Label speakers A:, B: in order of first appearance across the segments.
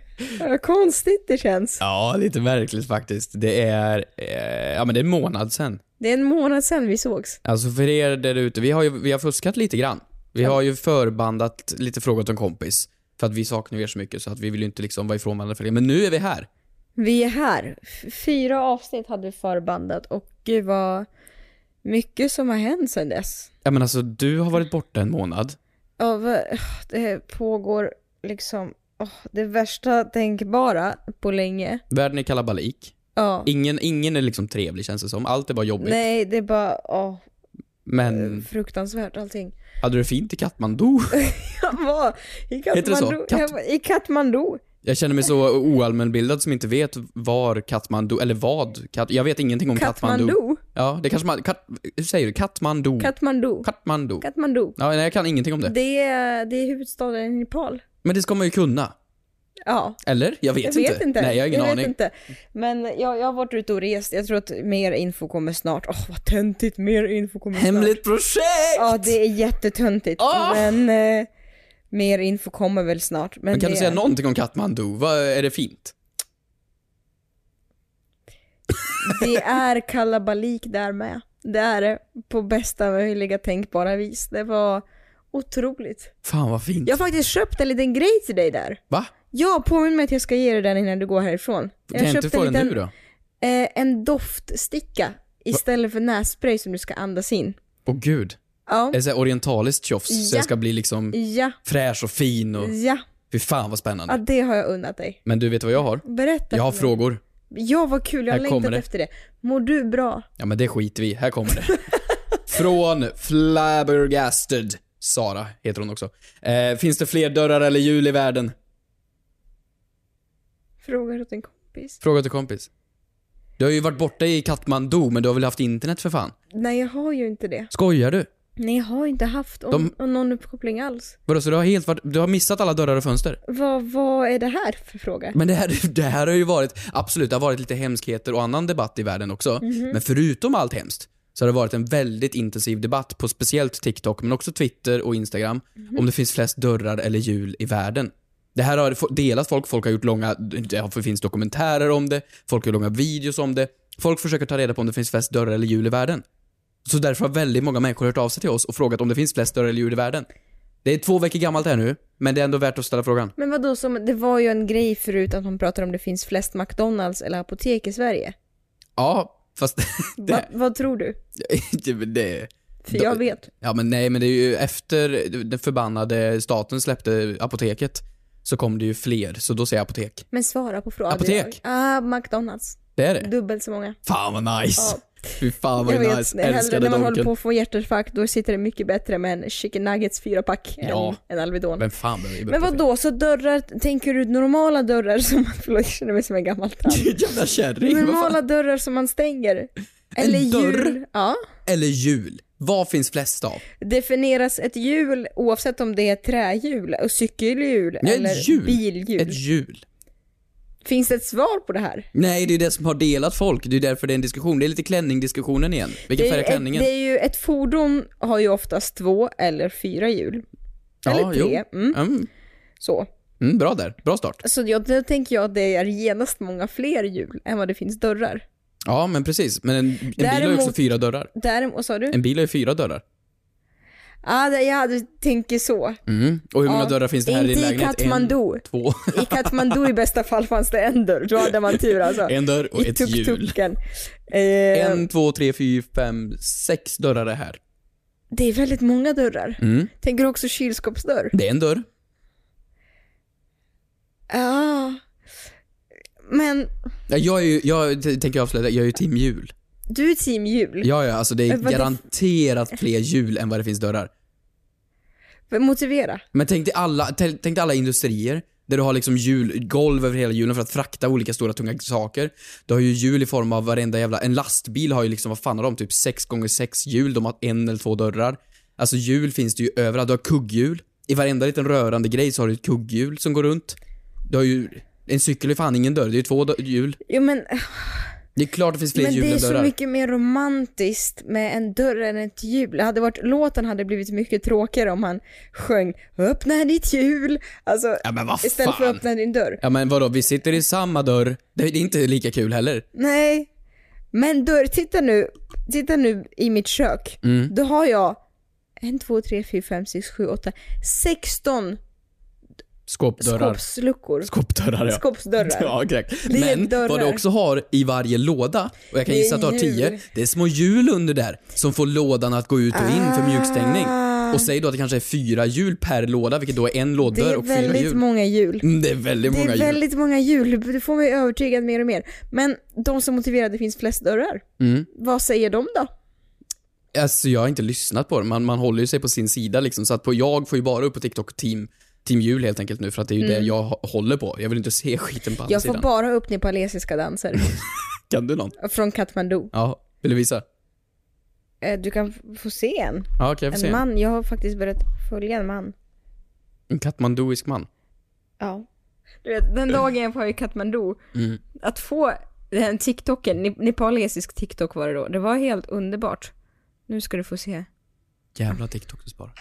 A: Vad konstigt det känns.
B: Ja, lite märkligt faktiskt. Det är, eh, ja men det är en månad sedan.
A: Det är en månad sedan vi sågs.
B: Alltså för er där ute, vi har ju, vi har fuskat lite grann. Vi har ju förbandat lite frågor till en kompis. För att vi saknar er så mycket så att vi vill ju inte liksom vara ifrån varandra för det. Men nu är vi här.
A: Vi är här. F- Fyra avsnitt hade vi förbandat och gud vad mycket som har hänt sedan dess.
B: Ja men alltså du har varit borta en månad.
A: Av, eh, det pågår liksom åh, det värsta tänkbara på länge.
B: Världen är kalabalik.
A: Ja.
B: Ingen, ingen är liksom trevlig känns det som. Allt är bara jobbigt.
A: Nej, det är bara åh,
B: Men
A: fruktansvärt allting.
B: hade du det fint i Katmandu?
A: Jag var i
B: Heter det
A: Katmandu.
B: så? Kat-
A: Jag var I Katmandu.
B: Jag känner mig så oallmänbildad som inte vet var Katmandu, eller vad. Kat, jag vet ingenting om Katmandu.
A: Katmandu.
B: Ja, det kanske man... Kat, hur säger du? Katmandu.
A: Katmandu.
B: Katmandu.
A: Katmandu.
B: Ja, nej, jag kan ingenting om det.
A: Det är, det är huvudstaden i Nepal.
B: Men det ska man ju kunna.
A: Ja.
B: Eller? Jag vet,
A: jag vet inte.
B: Nej, jag har ingen aning.
A: Vet inte. Men jag, jag har varit ute och rest. Jag tror att mer info kommer snart. Åh, vad töntigt. Mer info kommer snart.
B: Hemligt Ah! projekt!
A: Ja, det är jättetöntigt.
B: Åh!
A: Men eh, mer info kommer väl snart. Men,
B: Men kan
A: det,
B: du säga någonting om Katmandu? Vad är det fint?
A: det är kalabalik där med. Det är det på bästa möjliga tänkbara vis. Det var otroligt.
B: Fan vad fint.
A: Jag har faktiskt köpt en liten grej till dig där.
B: Va?
A: Ja, påminn mig att jag ska ge dig den innan du går härifrån.
B: Kan jag inte
A: köpte
B: få
A: en
B: den
A: liten-
B: nu då?
A: eh, en doftsticka istället för nässpray som du ska andas in.
B: Åh gud.
A: Ja,
B: Är det så här orientaliskt tjofs så
A: Ja.
B: jag ska bli liksom
A: ja,
B: fräsch och fin och...
A: ja.
B: Fy fan vad
A: ja
B: spännande.
A: det har jag unnat dig.
B: Men du vet vad jag har?
A: Berätta
B: Jag har
A: för mig.
B: frågor.
A: Ja, vad kul. Jag har
B: Här kommer
A: längtat
B: det.
A: efter det. Mår du bra?
B: Ja men det skiter vi i. här kommer det. Från Flabbergasted. Sara heter hon också. Eh, finns det fler dörrar eller hjul i världen?
A: Frågar åt en kompis.
B: Fråga till kompis. Du har ju varit borta i Katmandu, men du har väl haft internet för fan?
A: Nej, jag har ju inte det.
B: Skojar du?
A: Nej, jag har inte haft om,
B: De-
A: om någon uppkoppling alls.
B: Vadå, så du har helt varit, du har missat alla dörrar och fönster?
A: Vad, vad är det här för fråga?
B: Men det här, det här har ju varit, absolut, det har varit lite hemskheter och annan debatt i världen också. Men förutom allt hemskt, så har det varit en väldigt intensiv debatt på speciellt TikTok, men också Twitter och Instagram, om det finns flest dörrar eller hjul i världen. Det här har fo- delat folk, folk har gjort långa, det har- finns dokumentärer om det, folk har gjort långa videos om det. Folk försöker ta reda på om det finns flest dörrar eller hjul i världen. Så därför har väldigt många människor hört av sig till oss och frågat om det finns flest dörrar eller hjul i världen. Det är två veckor gammalt här nu, men det är ändå värt att ställa frågan.
A: Men vadå, som, det var ju en grej förut att hon pratade om det finns flest McDonalds eller apotek i Sverige.
B: Ja, fast... det-
A: Va, vad tror du?
B: det, Typ det,
A: För jag vet.
B: ja men nej men det är ju efter den förbannade staten släppte apoteket så kom det ju fler, så då säger jag apotek.
A: Men svara på frågan.
B: Apotek.
A: Ah, McDonalds.
B: Det är det.
A: Dubbelt så många.
B: Fan vad nice!
A: Ja.
B: Fy fan vad
A: Jag vet,
B: nice.
A: det är hellre
B: Älskade
A: när man håller
B: Donken.
A: på att få hjärtinfarkt, då sitter det mycket bättre med en chicken nuggets fyra pack
B: Ja.
A: än en Alvedon.
B: Vem fan behöver
A: Men vad då så dörrar, tänker du normala dörrar som man, förlåt jag känner mig som en gammal tant.
B: Jävla kärring! vad fan.
A: Normala dörrar som man stänger. Eller
B: dörr?
A: hjul. Ja.
B: Eller hjul. Vad finns flest av?
A: Definieras ett hjul oavsett om det är trähjul, och cykelhjul
B: Nej,
A: eller
B: ett hjul.
A: bilhjul.
B: Ett hjul.
A: Finns det ett svar på det här?
B: Nej, det är det som har delat folk. Det är därför det är en diskussion. Det är lite klänning-diskussionen igen. Vilken
A: Det är,
B: färg
A: ju
B: är
A: ett,
B: klänningen?
A: det är ju, ett fordon har ju oftast två eller fyra hjul. eller tre.
B: Jo.
A: Mm,
B: Mm.
A: så.
B: Mm, bra där. Bra start.
A: Så jag, då tänker jag att det är genast många fler hjul än vad det finns dörrar.
B: Ja, men precis. Men en, en bil har ju också
A: Däremot-
B: fyra dörrar.
A: Däremot, vad sa du?
B: En bil har ju fyra dörrar.
A: Ja, det- ja, du tänker så.
B: Mm. Och hur många
A: Ja.
B: dörrar finns det här i din
A: Inte i
B: lägenhet?
A: Kathmandu.
B: En, två.
A: I Katmandu i bästa fall fanns det en dörr, då hade man tur alltså.
B: en dörr och
A: I
B: ett hjul.
A: tuk-tuken. Eh,
B: En, två, tre, fyra, fem, sex dörrar är här.
A: det är väldigt många dörrar.
B: Mm.
A: Tänker du också kylskåpsdörr?
B: Det är en dörr.
A: Ja. Men
B: Ja, Jag är ju, jag t- tänker avslöja, jag är ju team jul.
A: du är team jul.
B: Ja, ja, alltså det är
A: Men vad det-
B: garanterat fler jul än vad det finns dörrar.
A: Motivera.
B: Men tänk dig alla, tänk tänk dig alla industrier Där du har liksom hjul, golv över hela hjulen för att frakta olika stora tunga saker. Du har ju hjul i form av varenda jävla... En lastbil har ju liksom, vad fan har de? Typ 6x6 hjul. De har en eller två dörrar. Alltså hjul finns det ju överallt. Du har kugghjul. I varenda liten rörande grej så har du ett kugghjul som går runt. Du har ju... En cykel är fan ingen dörr. Det är ju två dö- hjul.
A: Jo men,
B: Det är klart det finns fler
A: men
B: hjul
A: det är
B: än
A: så
B: dörrar.
A: mycket mer romantiskt med en dörr än ett hjul. Hade varit, låten hade blivit mycket tråkigare om han sjöng “Öppna ditt hjul” alltså,
B: Ja men vad
A: istället för
B: fan.
A: “Öppna din dörr”.
B: Ja men vadå, vi sitter i samma dörr. Det är inte lika kul heller.
A: Nej. Men dörr, titta nu, titta nu i mitt kök.
B: Mm.
A: Då har jag en, två, tre, fyra, fem, sex, sju, åtta, 16
B: Skåpdörrar.
A: skåpsluckor.
B: Skåpdörrar ja.
A: Skåpsdörrar.
B: Ja, korrekt.
A: Det är
B: Men
A: dörrar.
B: vad du också har i varje låda, och jag kan
A: Det är
B: gissa att du har tio,
A: hjul.
B: det är små hjul under där som får lådan att gå ut och in för mjukstängning.
A: Ah.
B: Och säg då att det kanske är fyra hjul per låda, vilket då är en
A: Det
B: låddörr
A: är
B: och fyra
A: väldigt
B: hjul.
A: många hjul.
B: Mm, det är väldigt
A: Det
B: många
A: är
B: hjul.
A: väldigt många hjul, du får mig övertygad mer och mer. Men de som motiverar att det finns flest dörrar,
B: Mm.
A: vad säger de då?
B: Alltså jag har inte lyssnat på det. Man, man håller ju sig på sin sida liksom. Så att på, jag får ju bara upp på TikTok team, team jul helt enkelt nu för att det är ju det jag hå- håller på. Jag vill inte se skiten på andra
A: Mm. Jag får
B: sidan. Mm.
A: bara upp nepalesiska danser
B: Kan du någon?
A: från Katmandu.
B: Ja, vill du visa?
A: Eh, Du kan f- få se en.
B: Ja, okej jag får se.
A: En man, jag har faktiskt börjat följa en man.
B: En katmanduisk man.
A: Ja. Du vet, den dagen jag var i Katmandu,
B: Mm.
A: att få den TikToken, nep- nepalesisk TikTok var det då, det var helt underbart. Nu ska du få se.
B: Jävla TikTok du sparar.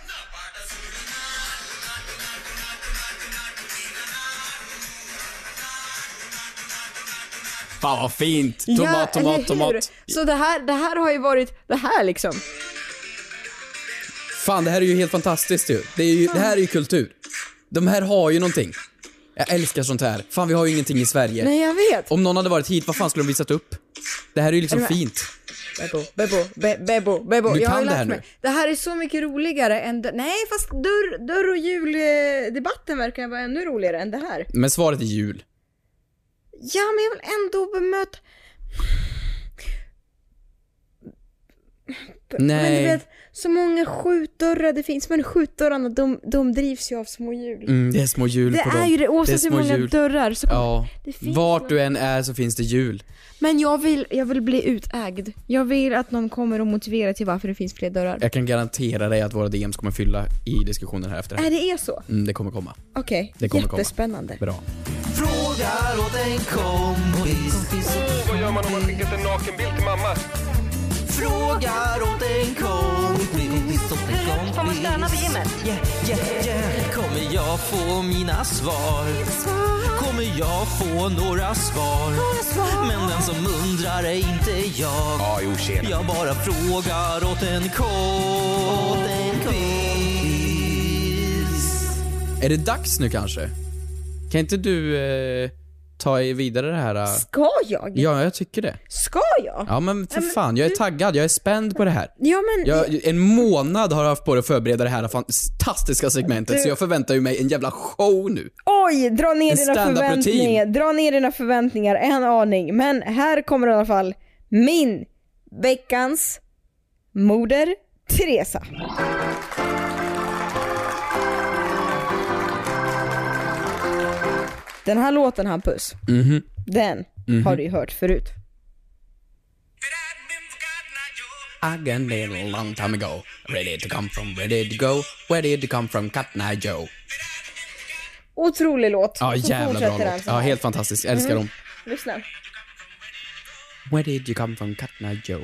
B: Fan vad fint! Tomat,
A: eller hur?
B: tomat, tomat.
A: Så det här, det här har ju varit, det här liksom.
B: Fan det här är ju helt fantastiskt ju. Det, är ju. det här är ju kultur. De här har ju någonting. Jag älskar sånt här. Fan vi har ju ingenting i Sverige.
A: Nej jag vet.
B: Om någon hade varit hit, vad fan skulle de visat upp? Det här är ju liksom
A: Eller-
B: fint.
A: Bebo, bebo, be, bebo, bebo.
B: Du
A: jag har
B: kan
A: ju
B: det här
A: lärt mig.
B: nu.
A: Det här är så mycket roligare än dörr- Nej fast dörr, dörr och juldebatten verkar vara ännu roligare än det här.
B: Men svaret är jul.
A: Ja men jag vill ändå bemöta... Men
B: Nej.
A: du vet, så många skjutdörrar det finns. Men skjutdörrarna de, de drivs ju av små hjul.
B: Mm, det är små jul
A: Det
B: på dem.
A: är ju det, oavsett hur
B: små
A: många
B: hjul.
A: dörrar så kommer...
B: Ja.
A: Det finns
B: Vart du än är så finns det jul.
A: Men jag vill, jag vill bli utägd. Jag vill att någon kommer och motiverar till varför det finns fler dörrar.
B: Jag kan garantera dig att våra DMs kommer fylla i diskussionen här efter.
A: Äh, det är så?
B: Mm, det kommer komma.
A: Okej,
B: Det kommer komma.
A: jättespännande.
B: Bra.
C: Frågar åt en kompis.
D: Vad gör man om man skickat en nakenbild till mamma?
C: Frågar åt en kompis. Åt en kompis. Får man stöna på gymmet? Yeah, yeah, yeah. Kommer jag få mina svar? Kommer jag få några svar? Men den som undrar är inte jag.
D: Ja, jo, tjena.
C: Jag bara frågar åt en kompis.
B: Är det dags nu kanske? Kan inte du eh, ta i vidare det här? eh?
A: Ska jag?
B: Ja, jag tycker det.
A: Ska jag?
B: Ja, men för fan. Jag är taggad. Jag är spänd på det här.
A: Ja, men...
B: Jag, en månad har jag haft på dig att förbereda det här fantastiska segmentet, så jag förväntar ju mig en jävla show nu.
A: Oj, dra ner
B: En
A: dina
B: standardrutin.
A: förväntningar. Dra ner dina förväntningar en aning. Men här kommer i alla fall min veckans moder Teresa. Den här låten Hampus,
B: Mhm.
A: den har du ju hört förut.
B: I got it a long time ago. Ready to come from, ready to go. Where did you come from, Cat Night Joe?
A: Otrolig låt.
B: Ja,
A: Så
B: jävla
A: fortsätter
B: bra
A: den
B: låt.
A: så
B: Ja,
A: här.
B: helt fantastisk. Jag älskar dem.
A: Lyssna.
B: Where did you come from, Cat Night Joe?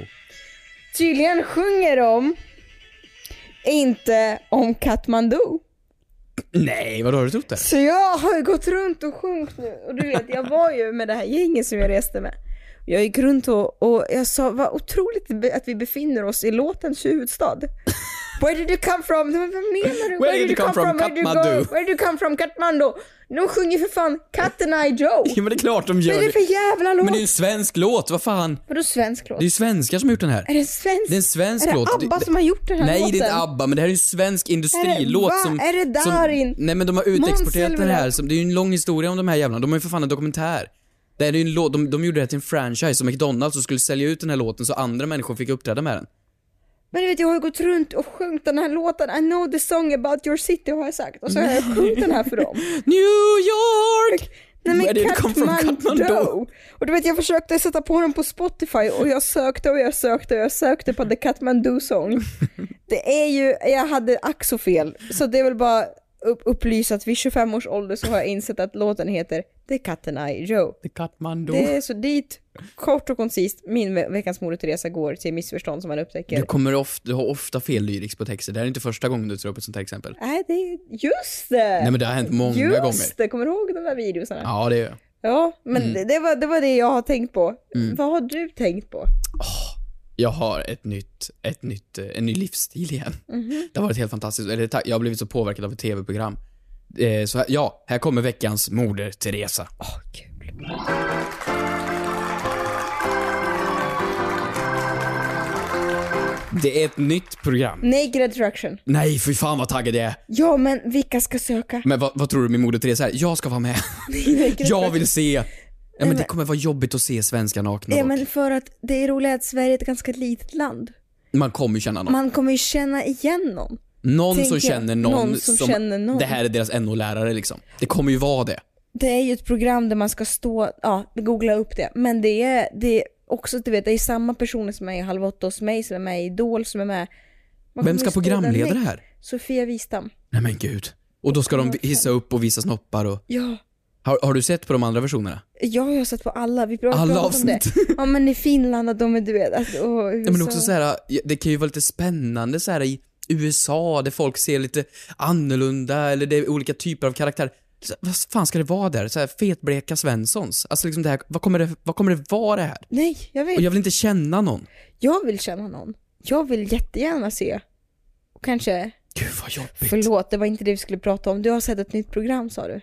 A: Tydligen sjunger de inte om Katmandu.
B: Nej, vad har du trott det?
A: Så jag har ju gått runt och sjungit nu och du vet jag var ju med det här gänget som jag reste med. Jag gick runt och, och jag sa vad otroligt be- att vi befinner oss i låtens huvudstad. Where did you come from? Men Vad menar du?
B: Where did you come from?
A: Where did you go?
B: Kathmandu.
A: Where did you come from? Kathmandu. De sjunger för fan Cat and I Joe.
B: Ja, men det är klart de gör
A: Vad är det
B: det.
A: för jävla
B: Men det är ju
A: låt?
B: en svensk låt, vad fan?
A: Vadå svensk låt?
B: Det är ju svenskar som har gjort den här.
A: Är det en svensk?
B: Det är en svensk
A: är det
B: låt.
A: ABBA
B: Det-
A: som har gjort den här
B: Nej,
A: låten?
B: det är inte ABBA, men det här är ju en svensk industrilåt
A: va?
B: som...
A: Är det
B: som-
A: Darin?
B: Nej men de har
A: Måns
B: utexporterat den
A: Zelmerlöw?
B: här, som, det är ju en lång historia om de här jävlarna. De har ju för fan en dokumentär. Det här är ju en låt, de, de gjorde det här till en franchise, som McDonalds, och skulle sälja ut den här låten så andra människor fick uppträda med den.
A: Men du vet jag har ju gått runt och sjungit den här låten I know the song about your city har jag sagt och så har jag sjungit den här för dem.
B: New York!
A: Nej men
B: Where did it come from?
A: Kathmandu.
B: Kathmandu.
A: Och du vet jag försökte sätta på den på Spotify och jag sökte och jag sökte och jag sökte på The Kathmandu Song. Det är ju, jag hade ack så fel. Så det är väl bara upp, upplysa att vid 25 års ålder så har jag insett att låten heter The Cat and I Joe.
B: The Kathmandu.
A: Det är så dit, kort och koncist, min ve- veckans mor Teresa går till missförstånd som man upptäcker.
B: Du, kommer ofta, du har ofta fel lyriks på texter. Det här är inte första gången du tar upp ett sånt här exempel.
A: Nej, det är just det!
B: Nej men det har hänt många
A: Just
B: gånger.
A: det, kommer du ihåg de där videosarna? Ja,
B: Ja, det gör jag.
A: men
B: Mm.
A: det, det, var, det var det jag har tänkt på. Vad har du tänkt på?
B: jag har ett nytt, ett nytt, eh, en ny livsstil igen.
A: Mhm.
B: Det har varit helt fantastiskt. Eller, ta- jag har blivit så påverkad av ett tv-program. Eh, så här, ja, här kommer veckans moder Teresa.
A: Åh, kul.
B: Det är ett nytt program.
A: Naked attraction.
B: Nej, för fan vad taggad jag är.
A: Ja, men vilka ska söka?
B: Men vad, vad tror du min moder Teresa är? Jag ska vara med. jag vill se. Ja, men det kommer vara jobbigt att se svenskar nakna.
A: Ja,
B: dock.
A: men för att det är roligt att Sverige är ett ganska litet land.
B: Man kommer ju känna någon.
A: Man kommer ju känna igen någon.
B: någon som
A: tänker jag.
B: känner någon,
A: Någon som känner någon.
B: Det här är deras NO-lärare liksom. Det kommer ju vara det.
A: Det är ju ett program där man ska stå, ja, googla upp det. Men det är, det är också, du vet, det är samma personer som är i Halv åtta hos mig, som är med i Idol, som är med. Man
B: Vem
A: kommer
B: ska
A: stå där
B: programleda det
A: direkt.
B: här?
A: Sofia Wistam.
B: Nej men gud. Och då ska de hissa upp och visa snoppar och...
A: Ja.
B: Har, har du sett på de andra versionerna?
A: Ja, jag har sett på alla. Vi pratar om
B: Alla
A: det.
B: avsnitt.
A: Ja, men i Finland att de är du vet, att- och USA.
B: Ja, men också så här, det kan ju vara lite spännande så här i USA där folk ser lite annorlunda eller det är olika typer av karaktär. Så, vad fan ska det vara där? Så här, fetbleka Svenssons? Alltså liksom det här, vad kommer det, vad kommer det vara det här?
A: Nej, jag vet.
B: Och jag
A: Jag...
B: vill inte känna någon.
A: vill känna någon. Jag vill jättegärna se. Och kanske,
B: Gud vad jobbigt.
A: förlåt, det var inte det vi skulle prata om. Du har sett ett nytt program sa du.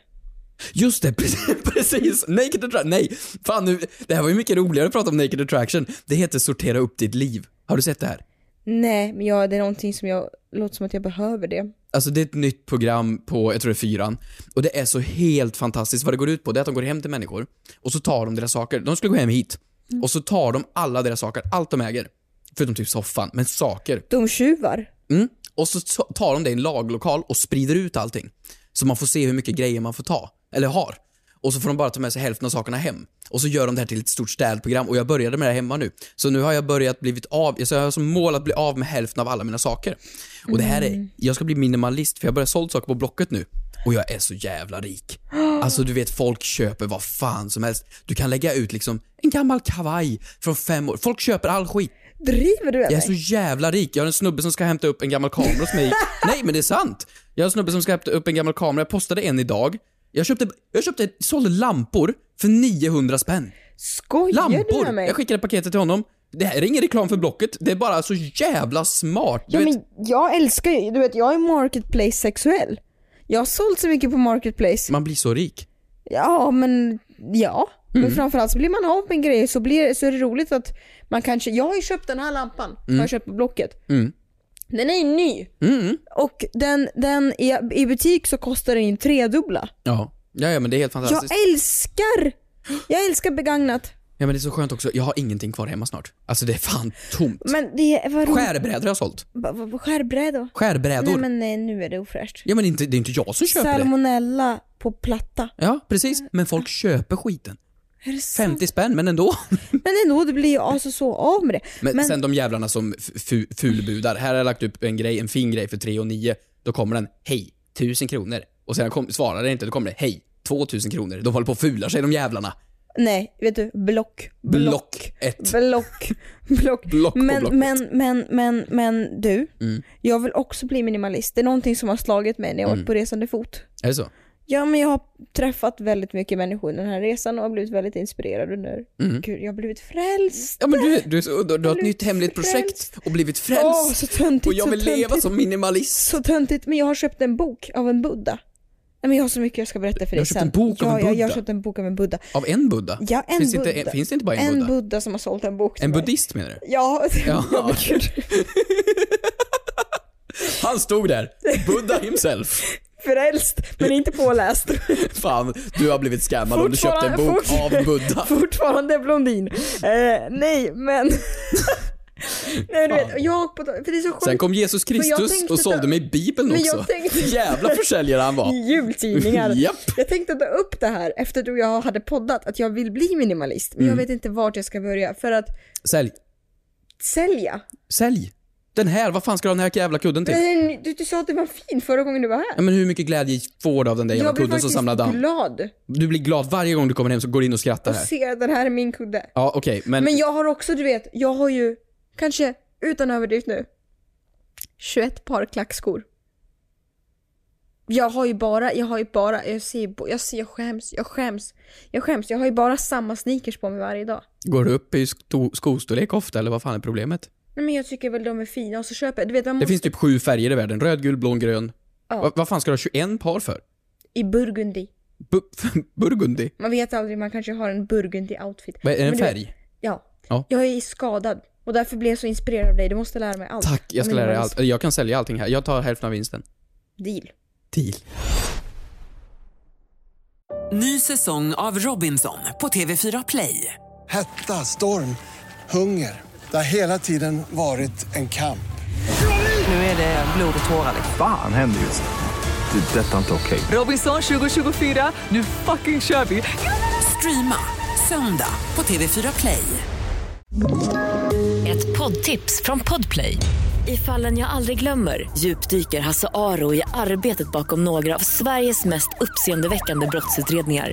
B: Just det, precis, precis! Naked Attraction. Nej, fan nu, det här var ju mycket roligare att prata om Naked Attraction. Det heter Sortera upp ditt liv. Har du sett det här?
A: Nej, men jag, det är någonting som jag, låter som att jag behöver det.
B: Alltså det är ett nytt program på, jag tror det är fyran. Och det är så helt fantastiskt. Vad det går ut på, det är att de går hem till människor och så tar de deras saker. De skulle gå hem hit. Och så tar de alla deras saker, allt de äger. Förutom typ soffan, men saker.
A: De tjuvar.
B: Mm. Och så t- tar de det i en laglokal och sprider ut allting. Så man får se hur mycket grejer man får ta, eller har. Och så får de bara ta med sig hälften av sakerna hem. Och så gör de det här till ett stort städprogram och jag började med det här hemma nu. Så nu har jag börjat blivit av, så jag har som mål att bli av med hälften av alla mina saker. Och det här är, jag ska bli minimalist för jag börjar sålt saker på Blocket nu. Och jag är så jävla rik. Alltså du vet, folk köper vad fan som helst. Du kan lägga ut liksom en gammal kavaj från fem år. Folk köper all skit.
A: Driver du med
B: Jag är
A: mig?
B: så jävla rik. Jag har en snubbe som ska hämta upp en gammal kamera hos mig. Nej, men det är sant. Jag har en snubbe som ska hämta upp en gammal kamera. Jag postade en idag. Jag köpte, jag köpte, sålde lampor för 900 spänn.
A: Skojar du med
B: Lampor!
A: mig?
B: Jag skickade paketet till honom. Det här är ingen reklam för Blocket. Det är bara så jävla smart. Du
A: ja,
B: vet,
A: men jag älskar ju, du vet, jag är marketplace-sexuell. Jag har sålt så mycket på marketplace.
B: man blir så rik.
A: Ja, men ja.
B: Mm.
A: Men framförallt så blir man av med grejer så, blir, så är det roligt att man kanske, jag har ju köpt den här lampan, har jag köpt på Blocket.
B: Mm.
A: Den är ju ny
B: Mm.
A: och den, den i, i butik så kostar den ju en tredubbla.
B: Ja. Ja, ja, men det är helt
A: Jag
B: fantastiskt.
A: älskar! Jag älskar begagnat.
B: Ja, men det är så skönt också. Jag har ingenting kvar hemma snart. Alltså det är fan tomt.
A: Men det var roligt.
B: Skärbrädor har jag sålt.
A: Skärbrädor. Nej
B: Skärbrädor.
A: men nej, nu är det ofräscht.
B: Ja, men inte, det är inte jag som köper det.
A: Salmonella på platta.
B: Ja, precis. Men folk köper skiten.
A: Eh, Är det sant?
B: 50 spänn, men ändå.
A: Men ändå, det blir ju alltså så av med det.
B: Men, sen de jävlarna som f- fu- fulbudar. Här har jag lagt upp en grej, en fin grej för 3 och 9. Då kommer den, hej, 1000 kronor. Och sen kom, svarar den inte, då kommer det, hej, 2000 kronor. De håller på och fular sig de jävlarna.
A: Nej, vet du? Block.
B: Block ett.
A: Block. Block.
B: Block på
A: men,
B: blocket. Mm.
A: men, men, men, men du. Jag vill också bli minimalist. Det är någonting som har slagit mig när jag har
B: Mm.
A: varit på resande fot.
B: Är det så?
A: Ja men jag har träffat väldigt mycket människor den här resan och har blivit väldigt inspirerad under.
B: Mm.
A: Gud, jag har blivit frälst.
B: Ja men du, du, är så- du, du har ett
A: Blivit
B: nytt hemligt projekt
A: frälst.
B: och blivit
A: Åh,
B: frälst.
A: så töntigt.
B: och jag
A: så
B: vill
A: töntigt,
B: leva som minimalist.
A: Så töntigt. Men jag har köpt en bok av en buddha. Nej men jag har så mycket jag ska berätta för
B: Du
A: dig
B: har köpt
A: sen.
B: en bok av
A: ja, Jag,
B: en
A: jag har
B: buddha?
A: köpt en bok av en buddha.
B: Av en Buddha?
A: Ja, en
B: finns,
A: buddha.
B: Det inte, finns det inte bara en,
A: En
B: Buddha?
A: buddha som har sålt en bok till
B: En
A: mig.
B: buddhist menar du?
A: Ja,
B: Ja.
A: ja. men gud.
B: Han stod där, Buddha himself.
A: frälst men inte påläst.
B: Fan, du har blivit scammad om du köpte en bok
A: Fortfarande-
B: av Buddha.
A: Fortfarande blondin. Eh, nej men. Nej, du vet, och jag på För det är så sjukt.
B: Sen kom Jesus
A: jag
B: Kristus
A: tänkte
B: och sålde
A: ta-
B: mig Bibeln
A: Men
B: också.
A: jag tänkte- Mm.
B: Jävla försäljare han var.
A: I jultidningar.
B: Japp.
A: Jag tänkte ta upp det här efter att du och jag hade poddat att jag vill bli minimalist men
B: Mm.
A: jag vet inte vart jag ska börja för att
B: Sälj.
A: sälja.
B: Sälj. Den här, vad fan ska du ha den här jävla kudden till?
A: Men eh, Du, du sa att det var fin förra gången du var här.
B: Ja, men hur mycket glädje får du av den där jävla
A: jag
B: kudden som samlar damm?
A: glad
B: Du blir glad varje gång du kommer hem så går du in och skrattar
A: och
B: här.
A: ser att den här är min kudde.
B: Ja, okej, men,
A: Men jag har också, du vet, jag har ju kanske, utan överdrift nu, 21 par klackskor. Jag har ju bara, jag har ju bara, jag ser, ju bo- jag, ser jag skäms, jag skäms, jag skäms. Jag har ju bara samma sneakers på mig varje dag.
B: går du upp i sko- skostorlek ofta eller vad fan är problemet?
A: Nej men jag tycker väl de är fina och så köper jag, du vet man
B: Det
A: måste,
B: finns typ sju färger i världen. Röd, gul, blå, grön. Va- vad fan ska du ha 21 par för?
A: i burgundy.
B: Bu- burgundy?
A: Man vet aldrig, man kanske har en burgundy outfit.
B: Vad är det,
A: Men
B: en
A: du vet-
B: färg?
A: Ja.
B: Ja.
A: Jag är skadad och därför blev jag så inspirerad av dig. Du måste lära mig allt.
B: Tack, jag ska
A: Om
B: lära dig
A: minimalism.
B: allt. Jag kan sälja allting här. Jag tar hälften av vinsten.
A: Deal.
B: Deal.
E: Ny säsong av Robinson på TV4 Play.
F: Hetta, storm, hunger. Det har hela tiden varit en kamp.
G: Nu är det blod och tårar. liksom.
H: Fan händer just det. Det är detta inte okej.
E: Robinson 2024, nu fucking kör vi! Streama söndag på TV4 Play.
I: Ett poddtips från Podplay. I fallen jag aldrig glömmer djupdyker Hasse Aro i arbetet bakom några av Sveriges mest uppseendeväckande brottsutredningar.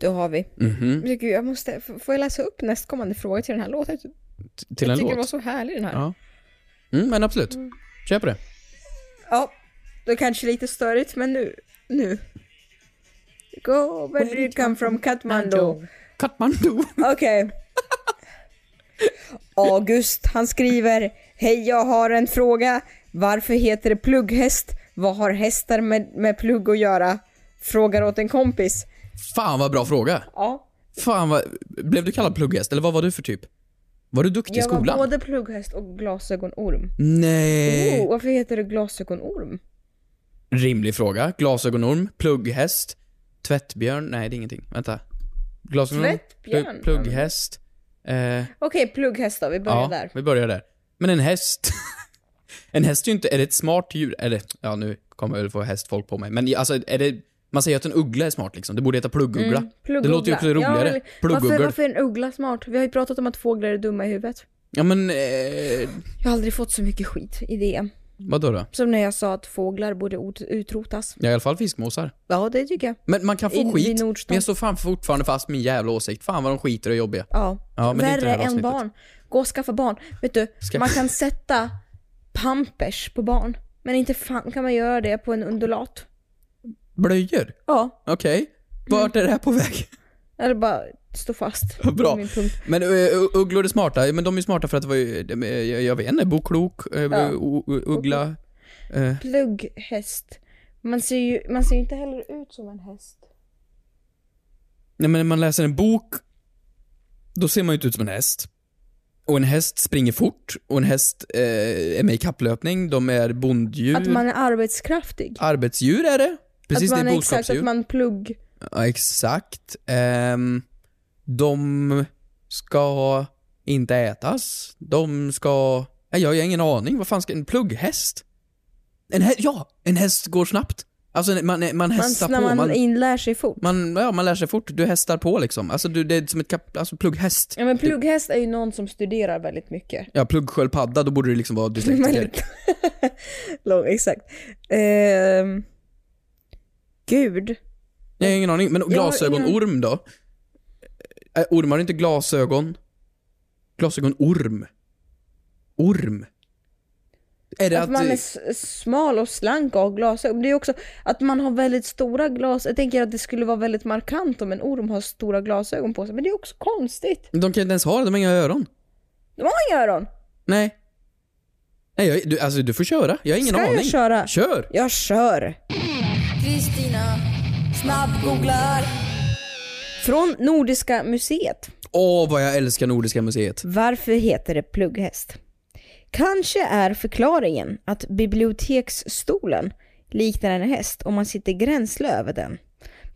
A: Det har vi.
B: Mhm.
A: Men Gud, jag måste, f- får jag läsa upp nästkommande fråga till den här låten? Jag
B: T- Till en
A: tycker den var
B: låt.
A: så härlig den här. Ja.
B: Ja. Mm, men absolut. Kör på det.
A: det kanske är lite störigt men nu, nu. Go where do you come from Kathmandu.
B: Katmandu.
A: Okej. August, han skriver Hej, jag har en fråga. Varför heter det plugghäst? Vad har hästar med, med plugg att göra? Frågar åt en kompis.
B: Fan vad bra fråga.
A: Ja,
B: Fan vad... Blev du kallad plugghäst eller vad var du för typ? Var du duktig i
A: jag var
B: skolan?
A: både plugghäst och glasögonorm.
B: Nej.
A: Oh, varför heter det glasögonorm?
B: Rimlig fråga. Glasögonorm, plugghäst, tvättbjörn. Nej, det är ingenting. Vänta. Glasögonorm,
A: Tvättbjörn?
B: plu- plugghäst. Eh,
A: Okej, plugghäst då. Vi börjar
B: ja,
A: där.
B: vi börjar där. Men en häst. en häst är ju inte... Är det ett smart djur? Eller, ja nu kommer jag väl få hästfolk på mig. Men i- alltså, är det... Man säger att en uggla är smart liksom. Det borde heta plugguggla. Det låter ju också
A: Mm, Plugguggla.
B: roligare.
A: Ja, men varför,
B: Pluggugglor.
A: varför är en uggla smart? Vi har ju pratat om att fåglar är dumma i huvudet.
B: Ja men, eh,
A: Jag har aldrig fått så mycket skit i det.
B: vadå då?
A: Som när jag sa att fåglar borde ot- utrotas.
B: Ja, i alla fall fiskmåsar.
A: Ja, det tycker jag.
B: Men man kan få
A: I- vid
B: skit.
A: Nordstan.
B: Men jag står fan fortfarande fast min jävla åsikt. Fan vad de skiter och är jobbiga.
A: Ja.
B: Ja, men det är inte det
A: Värre
B: här
A: än
B: avsnittet.
A: barn. Gå och skaffa barn. Vet du,
B: Ska-
A: man kan sätta pampers på barn. Men inte fan kan man göra det på en undulat.
B: Blöjor?
A: Ja,
B: Okej. Vart är
A: Mm.
B: det här på väg?
A: eller bara stå fast.
B: Vad Bra.
A: på Min punkt.
B: Men eh, u- ugglor är smarta. Men de är smarta för att det var ju, de är- jag, jag vet inte, boklok, eh, ja. uggla.
A: Plugghäst. Man ser ju man ser ju inte heller ut som en häst.
B: Nej men när man läser en bok, då ser man ju inte ut som en häst. Och en häst springer fort, och en häst eh, är med i kapplöpning, de är bonddjur.
A: Att man är arbetskraftig.
B: Arbetsdjur är det. Precis,
A: att
B: det
A: man
B: är
A: exakt,
B: boskapsdjur.
A: att man plugg...
B: Ja, exakt. Ehm, de ska inte ätas. De ska... Nej, Jag har ingen aning. Vad fan ska en plugghäst? En hä... Ja! En häst går snabbt. Alltså man, man
A: Man,
B: hästar
A: när
B: på. Man,
A: man,
B: man,
A: inlär sig fort.
B: ja, man lär sig fort. Du hästar på liksom. Alltså du, det är som ett kap... Alltså plugghäst.
A: Ja men plugghäst är ju någon som studerar väldigt mycket.
B: Ja, pluggsköldpadda, då borde det liksom vara dyslektiker.
A: Väldigt lång, exakt. Ehm, gud.
B: Jag har ingen aning. Men glasögonorm då? Äh, ormar är inte glasögon. Glasögonorm. Orm. Är det
A: Att,
B: att...
A: man är s- smal och slank och har glasögon. Det är också att man har väldigt stora glas. Jag tänker att det skulle vara väldigt markant om en orm har stora glasögon på sig. Men det är också konstigt.
B: De kan ju inte ens ha det, de har inga öron.
A: De har inga öron.
B: Nej. Nej, jag, du, alltså du får köra. Jag har ingen
A: Ska jag
B: aning.
A: köra?
B: Kör!
A: Jag kör.
J: Kristina snabbgooglar.
A: Från Nordiska museet.
B: Åh, vad jag älskar Nordiska museet.
A: Varför heter det plugghäst? Kanske är förklaringen att biblioteksstolen liknar en häst och man sitter gränsle över den.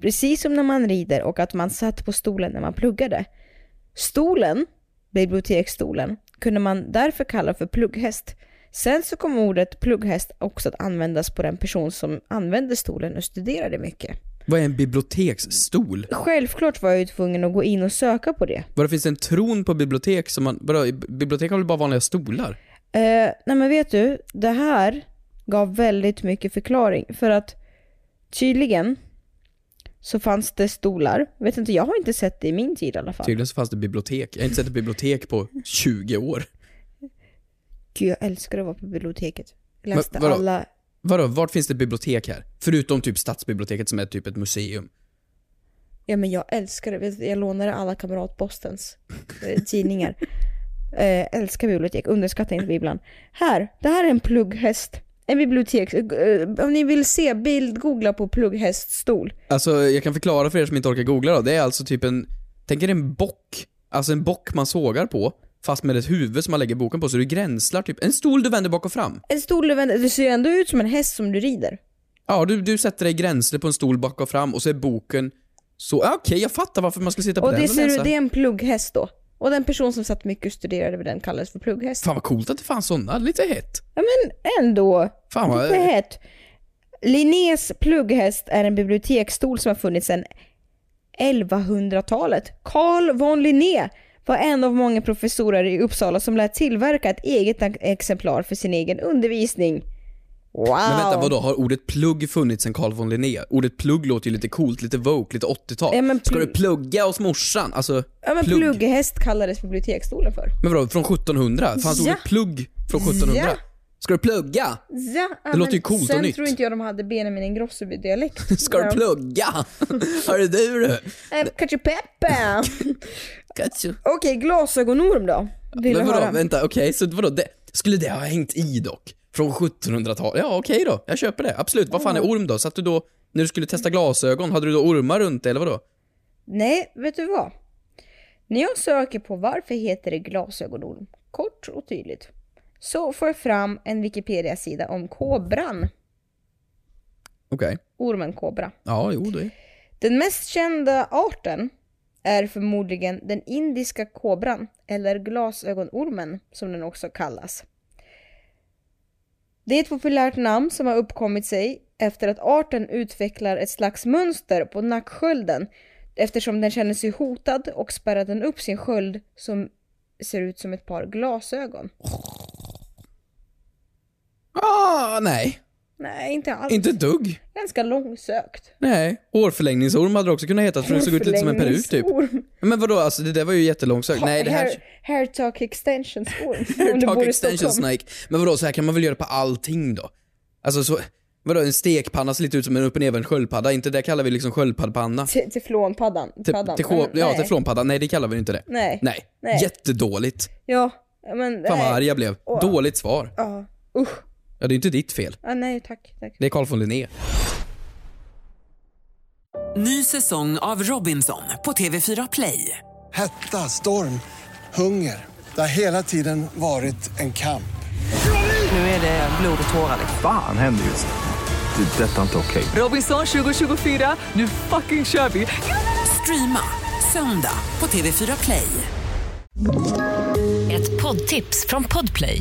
A: Precis som när man rider och att man satt på stolen när man pluggade. Stolen, biblioteksstolen, kunde man därför kalla för plugghäst. Sen så kom ordet plugghäst också att användas på den person som använde stolen och studerade mycket.
B: Vad är en biblioteksstol?
A: Självklart var jag ju tvungen att gå in och söka på det.
B: Vadå, finns det en tron på bibliotek som man... Vadå, bibliotek har väl bara vanliga stolar?
A: Eh, nej men vet du, det här gav väldigt mycket förklaring för att tydligen så fanns det stolar. Vet inte, jag har inte sett det i min tid i alla fall.
B: Tydligen så fanns det bibliotek. Jag har inte sett ett bibliotek på 20 år.
A: Gud, jag älskar att vara på biblioteket. Jag
B: Men
A: läste
B: vadå?
A: alla...
B: Vadå, vart finns det bibliotek här? Förutom typ stadsbiblioteket som är typ ett museum.
A: Ja men jag älskar det. Vet du, Jag lånade alla kamratpostens eh, tidningar. Eh, älskar bibliotek, underskattar inte bibblan. Här, det här är en plugghäst. En bibliotek... Eh, om ni vill se bild, googla på plugghäststol.
B: Alltså, jag kan förklara för er som inte orkar googla då. Det är alltså typ en... Tänk er en bock. Alltså en bock man sågar på, fast med ett huvud som man lägger boken på, så du gränslar typ. En stol du vänder bak och fram.
A: En stol du vänder... Det ser ju ändå ut som en häst som du rider.
B: Ja, du, du sätter dig i gränsle på en stol bak och fram och så är boken så... Ja, Okej, jag fattar varför man skulle sitta på
A: Och
B: den
A: det
B: och
A: ser
B: läsa.
A: du, det är en plugghäst då. Och den person som satt mycket och studerade vid den kallades för plugghäst.
B: Fan vad coolt att det fanns såna. Lite hett.
A: Ja men ändå.
B: Fan, vad-
A: Lite hett. Linnés plugghäst är en biblioteksstol som har funnits sedan 1100-talet. Carl von Linné var en av många professorer i Uppsala som lät tillverka ett eget exemplar för sin egen undervisning. Wow!
B: Men vänta, vadå? Har ordet plugg funnits sen Carl von Linné? Ordet plugg låter ju lite coolt, lite woke, lite 80-tal.
A: Ja, men
B: Ska
A: plugg-
B: du plugga hos morsan? Alltså,
A: Ja men
B: plugg.
A: plugghäst kallades biblioteksstolen för.
B: Men vadå, från 1700? Fanns
A: Ja.
B: ordet plugg från 1700?
A: Ja.
B: Ska du plugga?
A: Ja,
B: Det låter ju coolt och
A: sen
B: nytt.
A: tror inte jag de hade Benjamin Ingrosso-dialekt.
B: Ska du plugga? Hörru du du.
A: Eh, Cacio Pepe! Okej, glasögonorm då. Vill
B: Men
A: du
B: vadå,
A: höra?
B: vänta, okej, så vadå, det, skulle det ha hängt i dock? Från 1700-talet? Ja, okej då. Jag köper det. Absolut. Vad fan är orm då? Satt du då, när du skulle testa glasögon, hade du då ormar runt dig eller vadå?
A: Nej, vet du vad? När jag söker på varför heter det glasögonorm, kort och tydligt, så får jag fram en Wikipedia-sida om kobran,
B: Okej.
A: ormen kobra.
B: Ja, jo det.
A: Den mest kända arten är förmodligen den indiska kobran, eller glasögonormen som den också kallas. Det är ett populärt namn som har uppkommit sig efter att arten utvecklar ett slags mönster på nackskölden eftersom den känner sig hotad och spärrar den upp sin sköld som ser ut som ett par glasögon.
B: Ah, nej.
A: Nej, inte alls.
B: Inte ett dugg.
A: Ganska långsökt.
B: Nej. Årförlängningsorm hade det också kunnat heta för den såg ut lite som en peruk typ.
A: Förlängningsorm.
B: Men vadå, alltså det där var ju jättelångsökt. Nej, det här...
A: Hair, hair talk extensions orm. om du
B: Talk
A: bor i
B: extension
A: Stockholm.
B: snake. Men vadå, så här kan man väl göra på allting då? Alltså så, vadå en stekpanna ser lite ut som en upp och nedvänd sköldpadda, inte det kallar vi liksom sköldpaddepanna.
A: Te- Teflonpaddan.
B: Te-
A: paddan.
B: techo-
A: Men,
B: ja,
A: nej.
B: teflonpadda, nej det kallar vi inte det.
A: Nej.
B: Nej.
A: Nej.
B: Jättedåligt.
A: Ja, men...
B: Fan vad
A: nej.
B: arg jag blev.
A: Åh.
B: Dåligt svar.
A: Ja, usch.
B: Ja, det är inte ditt fel.
A: Ja, nej tack. tack.
B: Det är Carl von Linné.
E: Ny säsong av Robinson på TV4 Play.
F: Hetta, storm, hunger. Det har hela tiden varit en kamp.
G: Nu är det blod och tårar. liksom.
H: Fan händer just det. Det är detta inte okej.
E: Robinson 2024, nu fucking kör vi! Streama söndag på TV4 Play.
I: Ett poddtips från Podplay.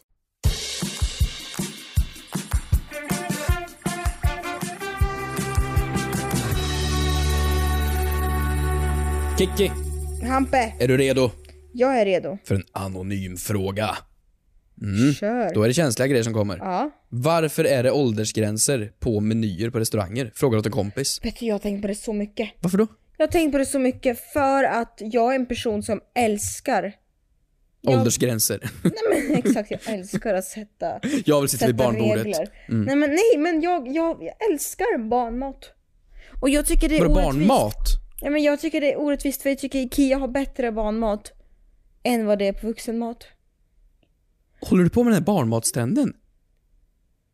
B: Kiki,
A: Hampe,
B: är du redo
A: jag är redo.
B: för en anonym fråga? Mm.
A: Kör.
B: Då är det känsliga grejer som kommer.
A: Ja.
B: Varför är det åldersgränser på menyer på restauranger? Frågar åt en kompis.
A: Petter, jag har tänkt på det så mycket.
B: Varför då?
A: Jag har tänkt på det så mycket för att jag är en person som älskar
B: Åldersgränser.
A: Nej men exakt, jag älskar att sätta
B: Jag vill sitta vid
A: sätta
B: barnbordet.
A: regler.
B: Mm.
A: Nej men, nej, men jag, jag, jag älskar barnmat. Och jag tycker det är
B: Vadå,
A: orättvist.
B: barnmat?
A: Nej men jag tycker det är orättvist för jag tycker IKEA har bättre barnmat än vad det är på vuxenmat.
B: Håller du på med den här barnmatstrenden?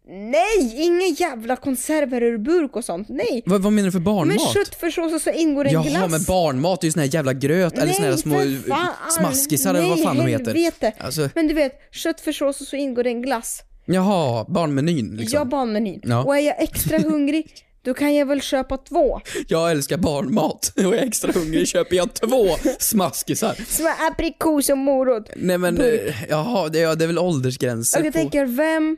A: Nej! Inga jävla konserver ur burk och sånt, nej!
B: Vad, vad menar du för
A: Med
B: barnmat?
A: köttfärssås och så ingår det en
B: Jaha,
A: glass.
B: men barnmat är ju sån här jävla gröt eller såna här små
A: för fan.
B: smaskisar eller vad
A: Nej,
B: fan de
A: helvete.
B: heter. Alltså,
A: Men du vet, köttfärssås och så ingår det en glass.
B: jaha, barnmenyn liksom.
A: Jag barnmenyn.
B: Ja.
A: Och är jag extra hungrig, då kan jag väl köpa två.
B: Jag älskar barnmat och jag är extra hungrig köper jag två smaskisar.
A: Som är aprikos och morot.
B: Nej men,
A: Burk.
B: eh, jaha, det, ja, det är väl åldersgränser
A: Och jag
B: på...
A: tänker, vem...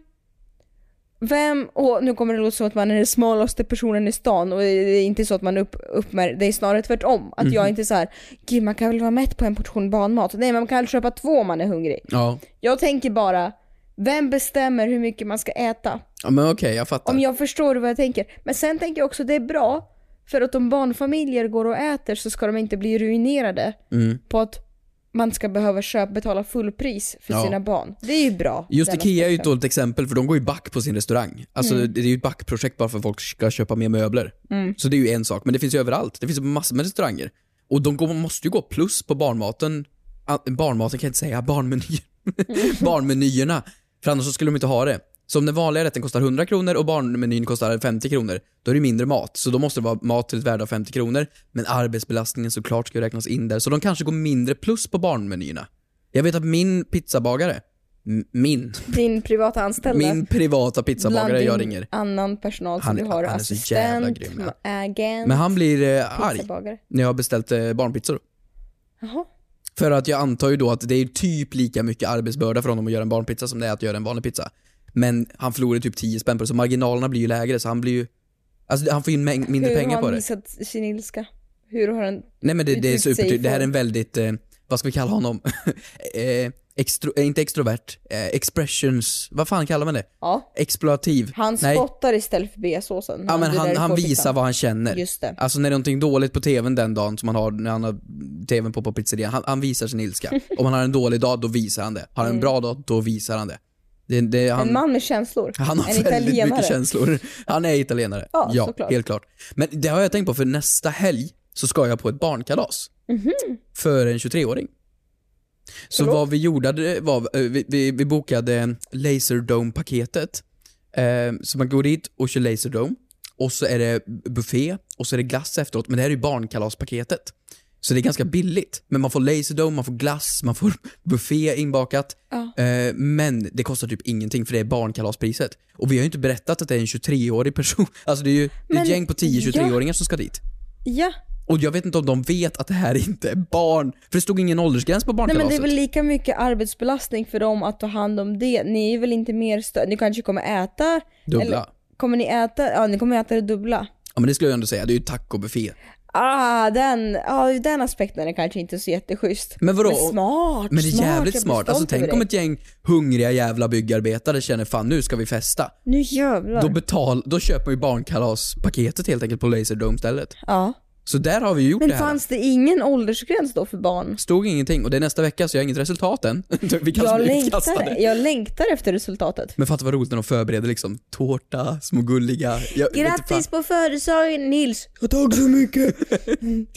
A: Vem, och nu kommer det låta som att man är den smalaste personen i stan och det är inte så att man upp, uppmär, det är snarare tvärtom. Att jag
B: Mhm.
A: inte är så här, gud man kan väl vara mätt på en portion barnmat? Nej man kan väl köpa två om man är hungrig.
B: Ja.
A: Jag tänker bara, vem bestämmer hur mycket man ska äta?
B: ja, men okej, jag fattar.
A: Om jag förstår vad jag tänker. Men sen tänker jag också det är bra, för att om barnfamiljer går och äter så ska de inte bli ruinerade
B: Mm.
A: på att man ska behöva köpa, betala fullpris för
B: Ja.
A: sina barn. Det är ju bra.
B: Just
A: den
B: IKEA är ju ett
A: aspekten.
B: dåligt exempel för de går ju back på sin restaurang. Alltså
A: Mm.
B: det är ju ett backprojekt bara för att folk ska köpa mer möbler.
A: Mm.
B: Så det är ju en sak, men det finns ju överallt. Det finns ju massor med restauranger. Och de går, måste ju gå plus på barnmaten. Ah, Barnmaten kan jag inte säga, barnmenyer.
A: Mm.
B: barnmenyerna. För annars så skulle de inte ha det. Så om den vanliga rätten kostar 100 kronor och barnmenyn kostar 50 kronor, då är det mindre mat. Så då måste det vara mat till ett värde av 50 kronor. Men arbetsbelastningen såklart ska ju räknas in där. Så de kanske går mindre plus på barnmenyerna. Jag vet att min pizzabagare, m- min,
A: Din privata anställda.
B: min privata
A: bland
B: pizzabagare jag
A: din
B: ringer.
A: annan personal som
B: Han är-
A: du har.
B: han är så
A: assistent,
B: jävla grym, ja.
A: agent,
B: Men han blir eh, arg
A: pizzabagare.
B: när jag har beställt eh, barnpizzor.
A: Jaha.
B: För att jag antar ju då att det är typ lika mycket arbetsbörda för honom att göra en barnpizza som det är att göra en vanlig pizza. Men han förlorar typ 10 spänn på det, så marginalerna blir ju lägre så han blir ju... Alltså han får ju en mängd mindre
A: Hur
B: pengar
A: har
B: på
A: han
B: det.
A: visat sin ilska? Hur har han...
B: Nej men det, det är
A: uttryckt sig i
B: supertydligt. Det här är en
A: form?
B: väldigt, eh, vad ska vi kalla honom? eh, extro, eh, inte extrovert. Eh, expressions, vad fan kallar man det?
A: Ja.
B: Exploativ.
A: Han
B: Nej.
A: spottar istället för beasåsen.
B: Ja men
A: det där
B: han,
A: du
B: han
A: får
B: visar
A: pizzan.
B: vad han känner.
A: Just det.
B: Alltså när det är någonting dåligt på tvn den dagen som han har, när han har tvn på på pizzerian, han, han visar sin ilska. Om han har en dålig dag, då visar han det. Har han en
A: Mm.
B: bra dag, då visar han det. det, det han,
A: en man med känslor.
B: han har
A: en
B: väldigt
A: italienare.
B: mycket känslor. Han är italienare.
A: Ja, såklart.
B: helt klart. Men det har jag tänkt på, för nästa helg så ska jag på ett barnkalas
A: Mhm.
B: för en 23-åring. Så
A: Förlåt?
B: vad vi gjorde det var, eh, vi, vi, vi bokade Laserdome-paketet. Eh, så man går dit och kör Laserdome. Och så är det buffé och så är det glass efteråt. Men det här är ju barnkalaspaketet. Så det är ganska billigt. Men man får Laserdome, man får glass, man får buffé inbakat.
A: Ja.
B: Eh, men det kostar typ ingenting för det är barnkalaspriset. Och vi har ju inte berättat att det är en 23-årig person. Alltså det är ju det är ett
A: Men-
B: gäng på 10-23-åringar som ska dit.
A: Ja.
B: Och jag vet inte om de vet att det här inte är barn. För det stod ingen åldersgräns på
A: Nej men det
B: barnkalaset.
A: är väl lika mycket arbetsbelastning för dem att ta hand om det. Ni är väl inte mer stöd... Ni kanske kommer äta...
B: Dubbla.
A: kommer ni äta... Ja, ni kommer äta det dubbla.
B: Ja men det skulle jag ändå säga, det är ju tacobuffé.
A: Ah, den, ah, ur den aspekten är kanske inte så jätteschysst.
B: Men vadå?
A: Men smart,
B: Men det
A: smart.
B: är jävligt
A: jag blir
B: smart. Alltså
A: stolt över
B: tänk om
A: dig.
B: ett gäng hungriga jävla byggarbetare känner fan nu ska vi festa.
A: Nu jävlar.
B: Då, betal, då köper man ju barnkalaspaketet helt enkelt på Laserdome stället.
A: ja.
B: Så där har vi ju gjort
A: Men
B: det här.
A: fanns det ingen åldersgräns då för barn?
B: Stod ingenting och det är nästa vecka så jag har inget resultat än. vi kanske
A: Jag
B: blir
A: längtar,
B: utkastade.
A: jag längtar efter resultatet.
B: Men fatta vad roligt när de förbereder liksom tårta, små gulliga. Jag, vet inte
A: Grattis på
B: fan.
A: födelsedagen Nils!
B: Tack så mycket!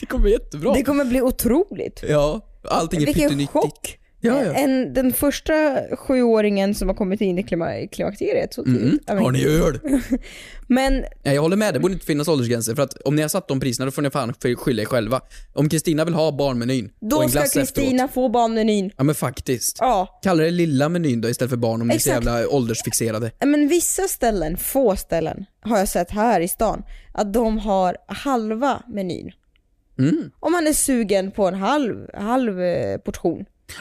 B: det kommer bli jättebra.
A: Det kommer bli otroligt.
B: Ja, allting är
A: Vilken
B: pyttenyttigt.
A: chock! Eh,
B: Ja, ja.
A: En, den första sjuåringen som har kommit in i klima, klimakteriet så tidigt.
B: Mm.
A: Ja, men-
B: Har ni öl?
A: Men
B: Nej, jag håller med, det borde inte finnas åldersgränser för att om ni har satt de priserna då får ni fan skylla er själva. Om Kristina vill ha barnmenyn och
A: då
B: en
A: ska
B: glass efteråt.
A: Kristina få barnmenyn.
B: Ja men faktiskt.
A: Ja.
B: Kalla det lilla menyn då istället för barn om ni är så
A: Exakt.
B: jävla åldersfixerade.
A: Men vissa ställen, få ställen, har jag sett här i stan, att de har halva menyn.
B: Mm.
A: Om man är sugen på en halv, halv eh, portion.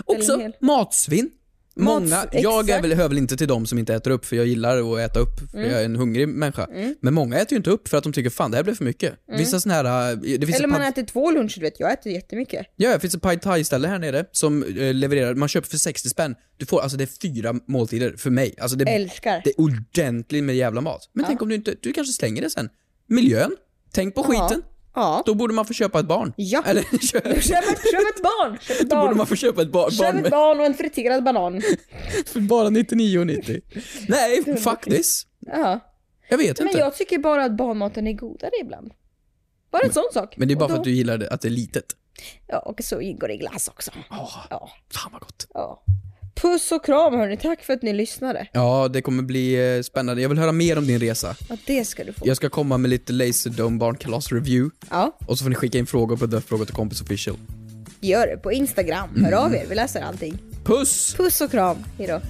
A: Eller
B: Också
A: en hel.
B: matsvinn. Många,
A: Mats-
B: jag är
A: exakt.
B: väl, hör väl inte till de som inte äter upp för jag gillar att äta upp för
A: Mm.
B: jag är en hungrig människa.
A: Mm.
B: Men många äter ju inte upp för att de tycker fan det här blev för mycket.
A: Mm.
B: Vissa såna här, eh, det finns
A: Eller
B: ett
A: man
B: pad-
A: äter två luncher du vet, jag äter jättemycket.
B: Ja, det finns ett pad thai-ställe här nere som eh, levererar, man köper för 60 spänn. Du får, alltså det är fyra måltider för mig. Alltså det,
A: Älskar.
B: det är ordentligt med jävla mat. Men
A: Ja.
B: tänk om du inte, du kanske slänger det sen. Miljön, tänk på
A: Ja.
B: skiten.
A: Ja.
B: Då borde man få köpa ett barn.
A: Ja.
B: Eller köp,
A: Köp ett, köp ett barn! Köp ett
B: då borde man
A: barn.
B: få köpa ett bar, barn
A: Köp ett
B: med,
A: barn och en friterad banan.
B: för bara 99,90. Nej, fuck this.
A: Ja.
B: Jag vet
A: Men
B: inte.
A: jag tycker bara att barnmaten är godare ibland. Bara en sån sak.
B: Mm. Men det är bara
A: Och
B: för
A: då-
B: att du gillar det, att det är litet.
A: Ja, och så ingår det glass också. ja.
B: Fan vad gott.
A: Ja. Puss och kram hörni, tack för att ni lyssnade.
B: Ja, det kommer bli eh, spännande. Jag vill höra mer om din resa.
A: Ja, det ska du få.
B: Jag ska komma med lite Laserdome barnkalas-review.
A: Ja,
B: Och så får ni skicka in frågor på Dödfrågor till kompis official.
A: gör det på Instagram. Hör av er, vi läser allting.
B: Puss!
A: Puss och kram, hejdå.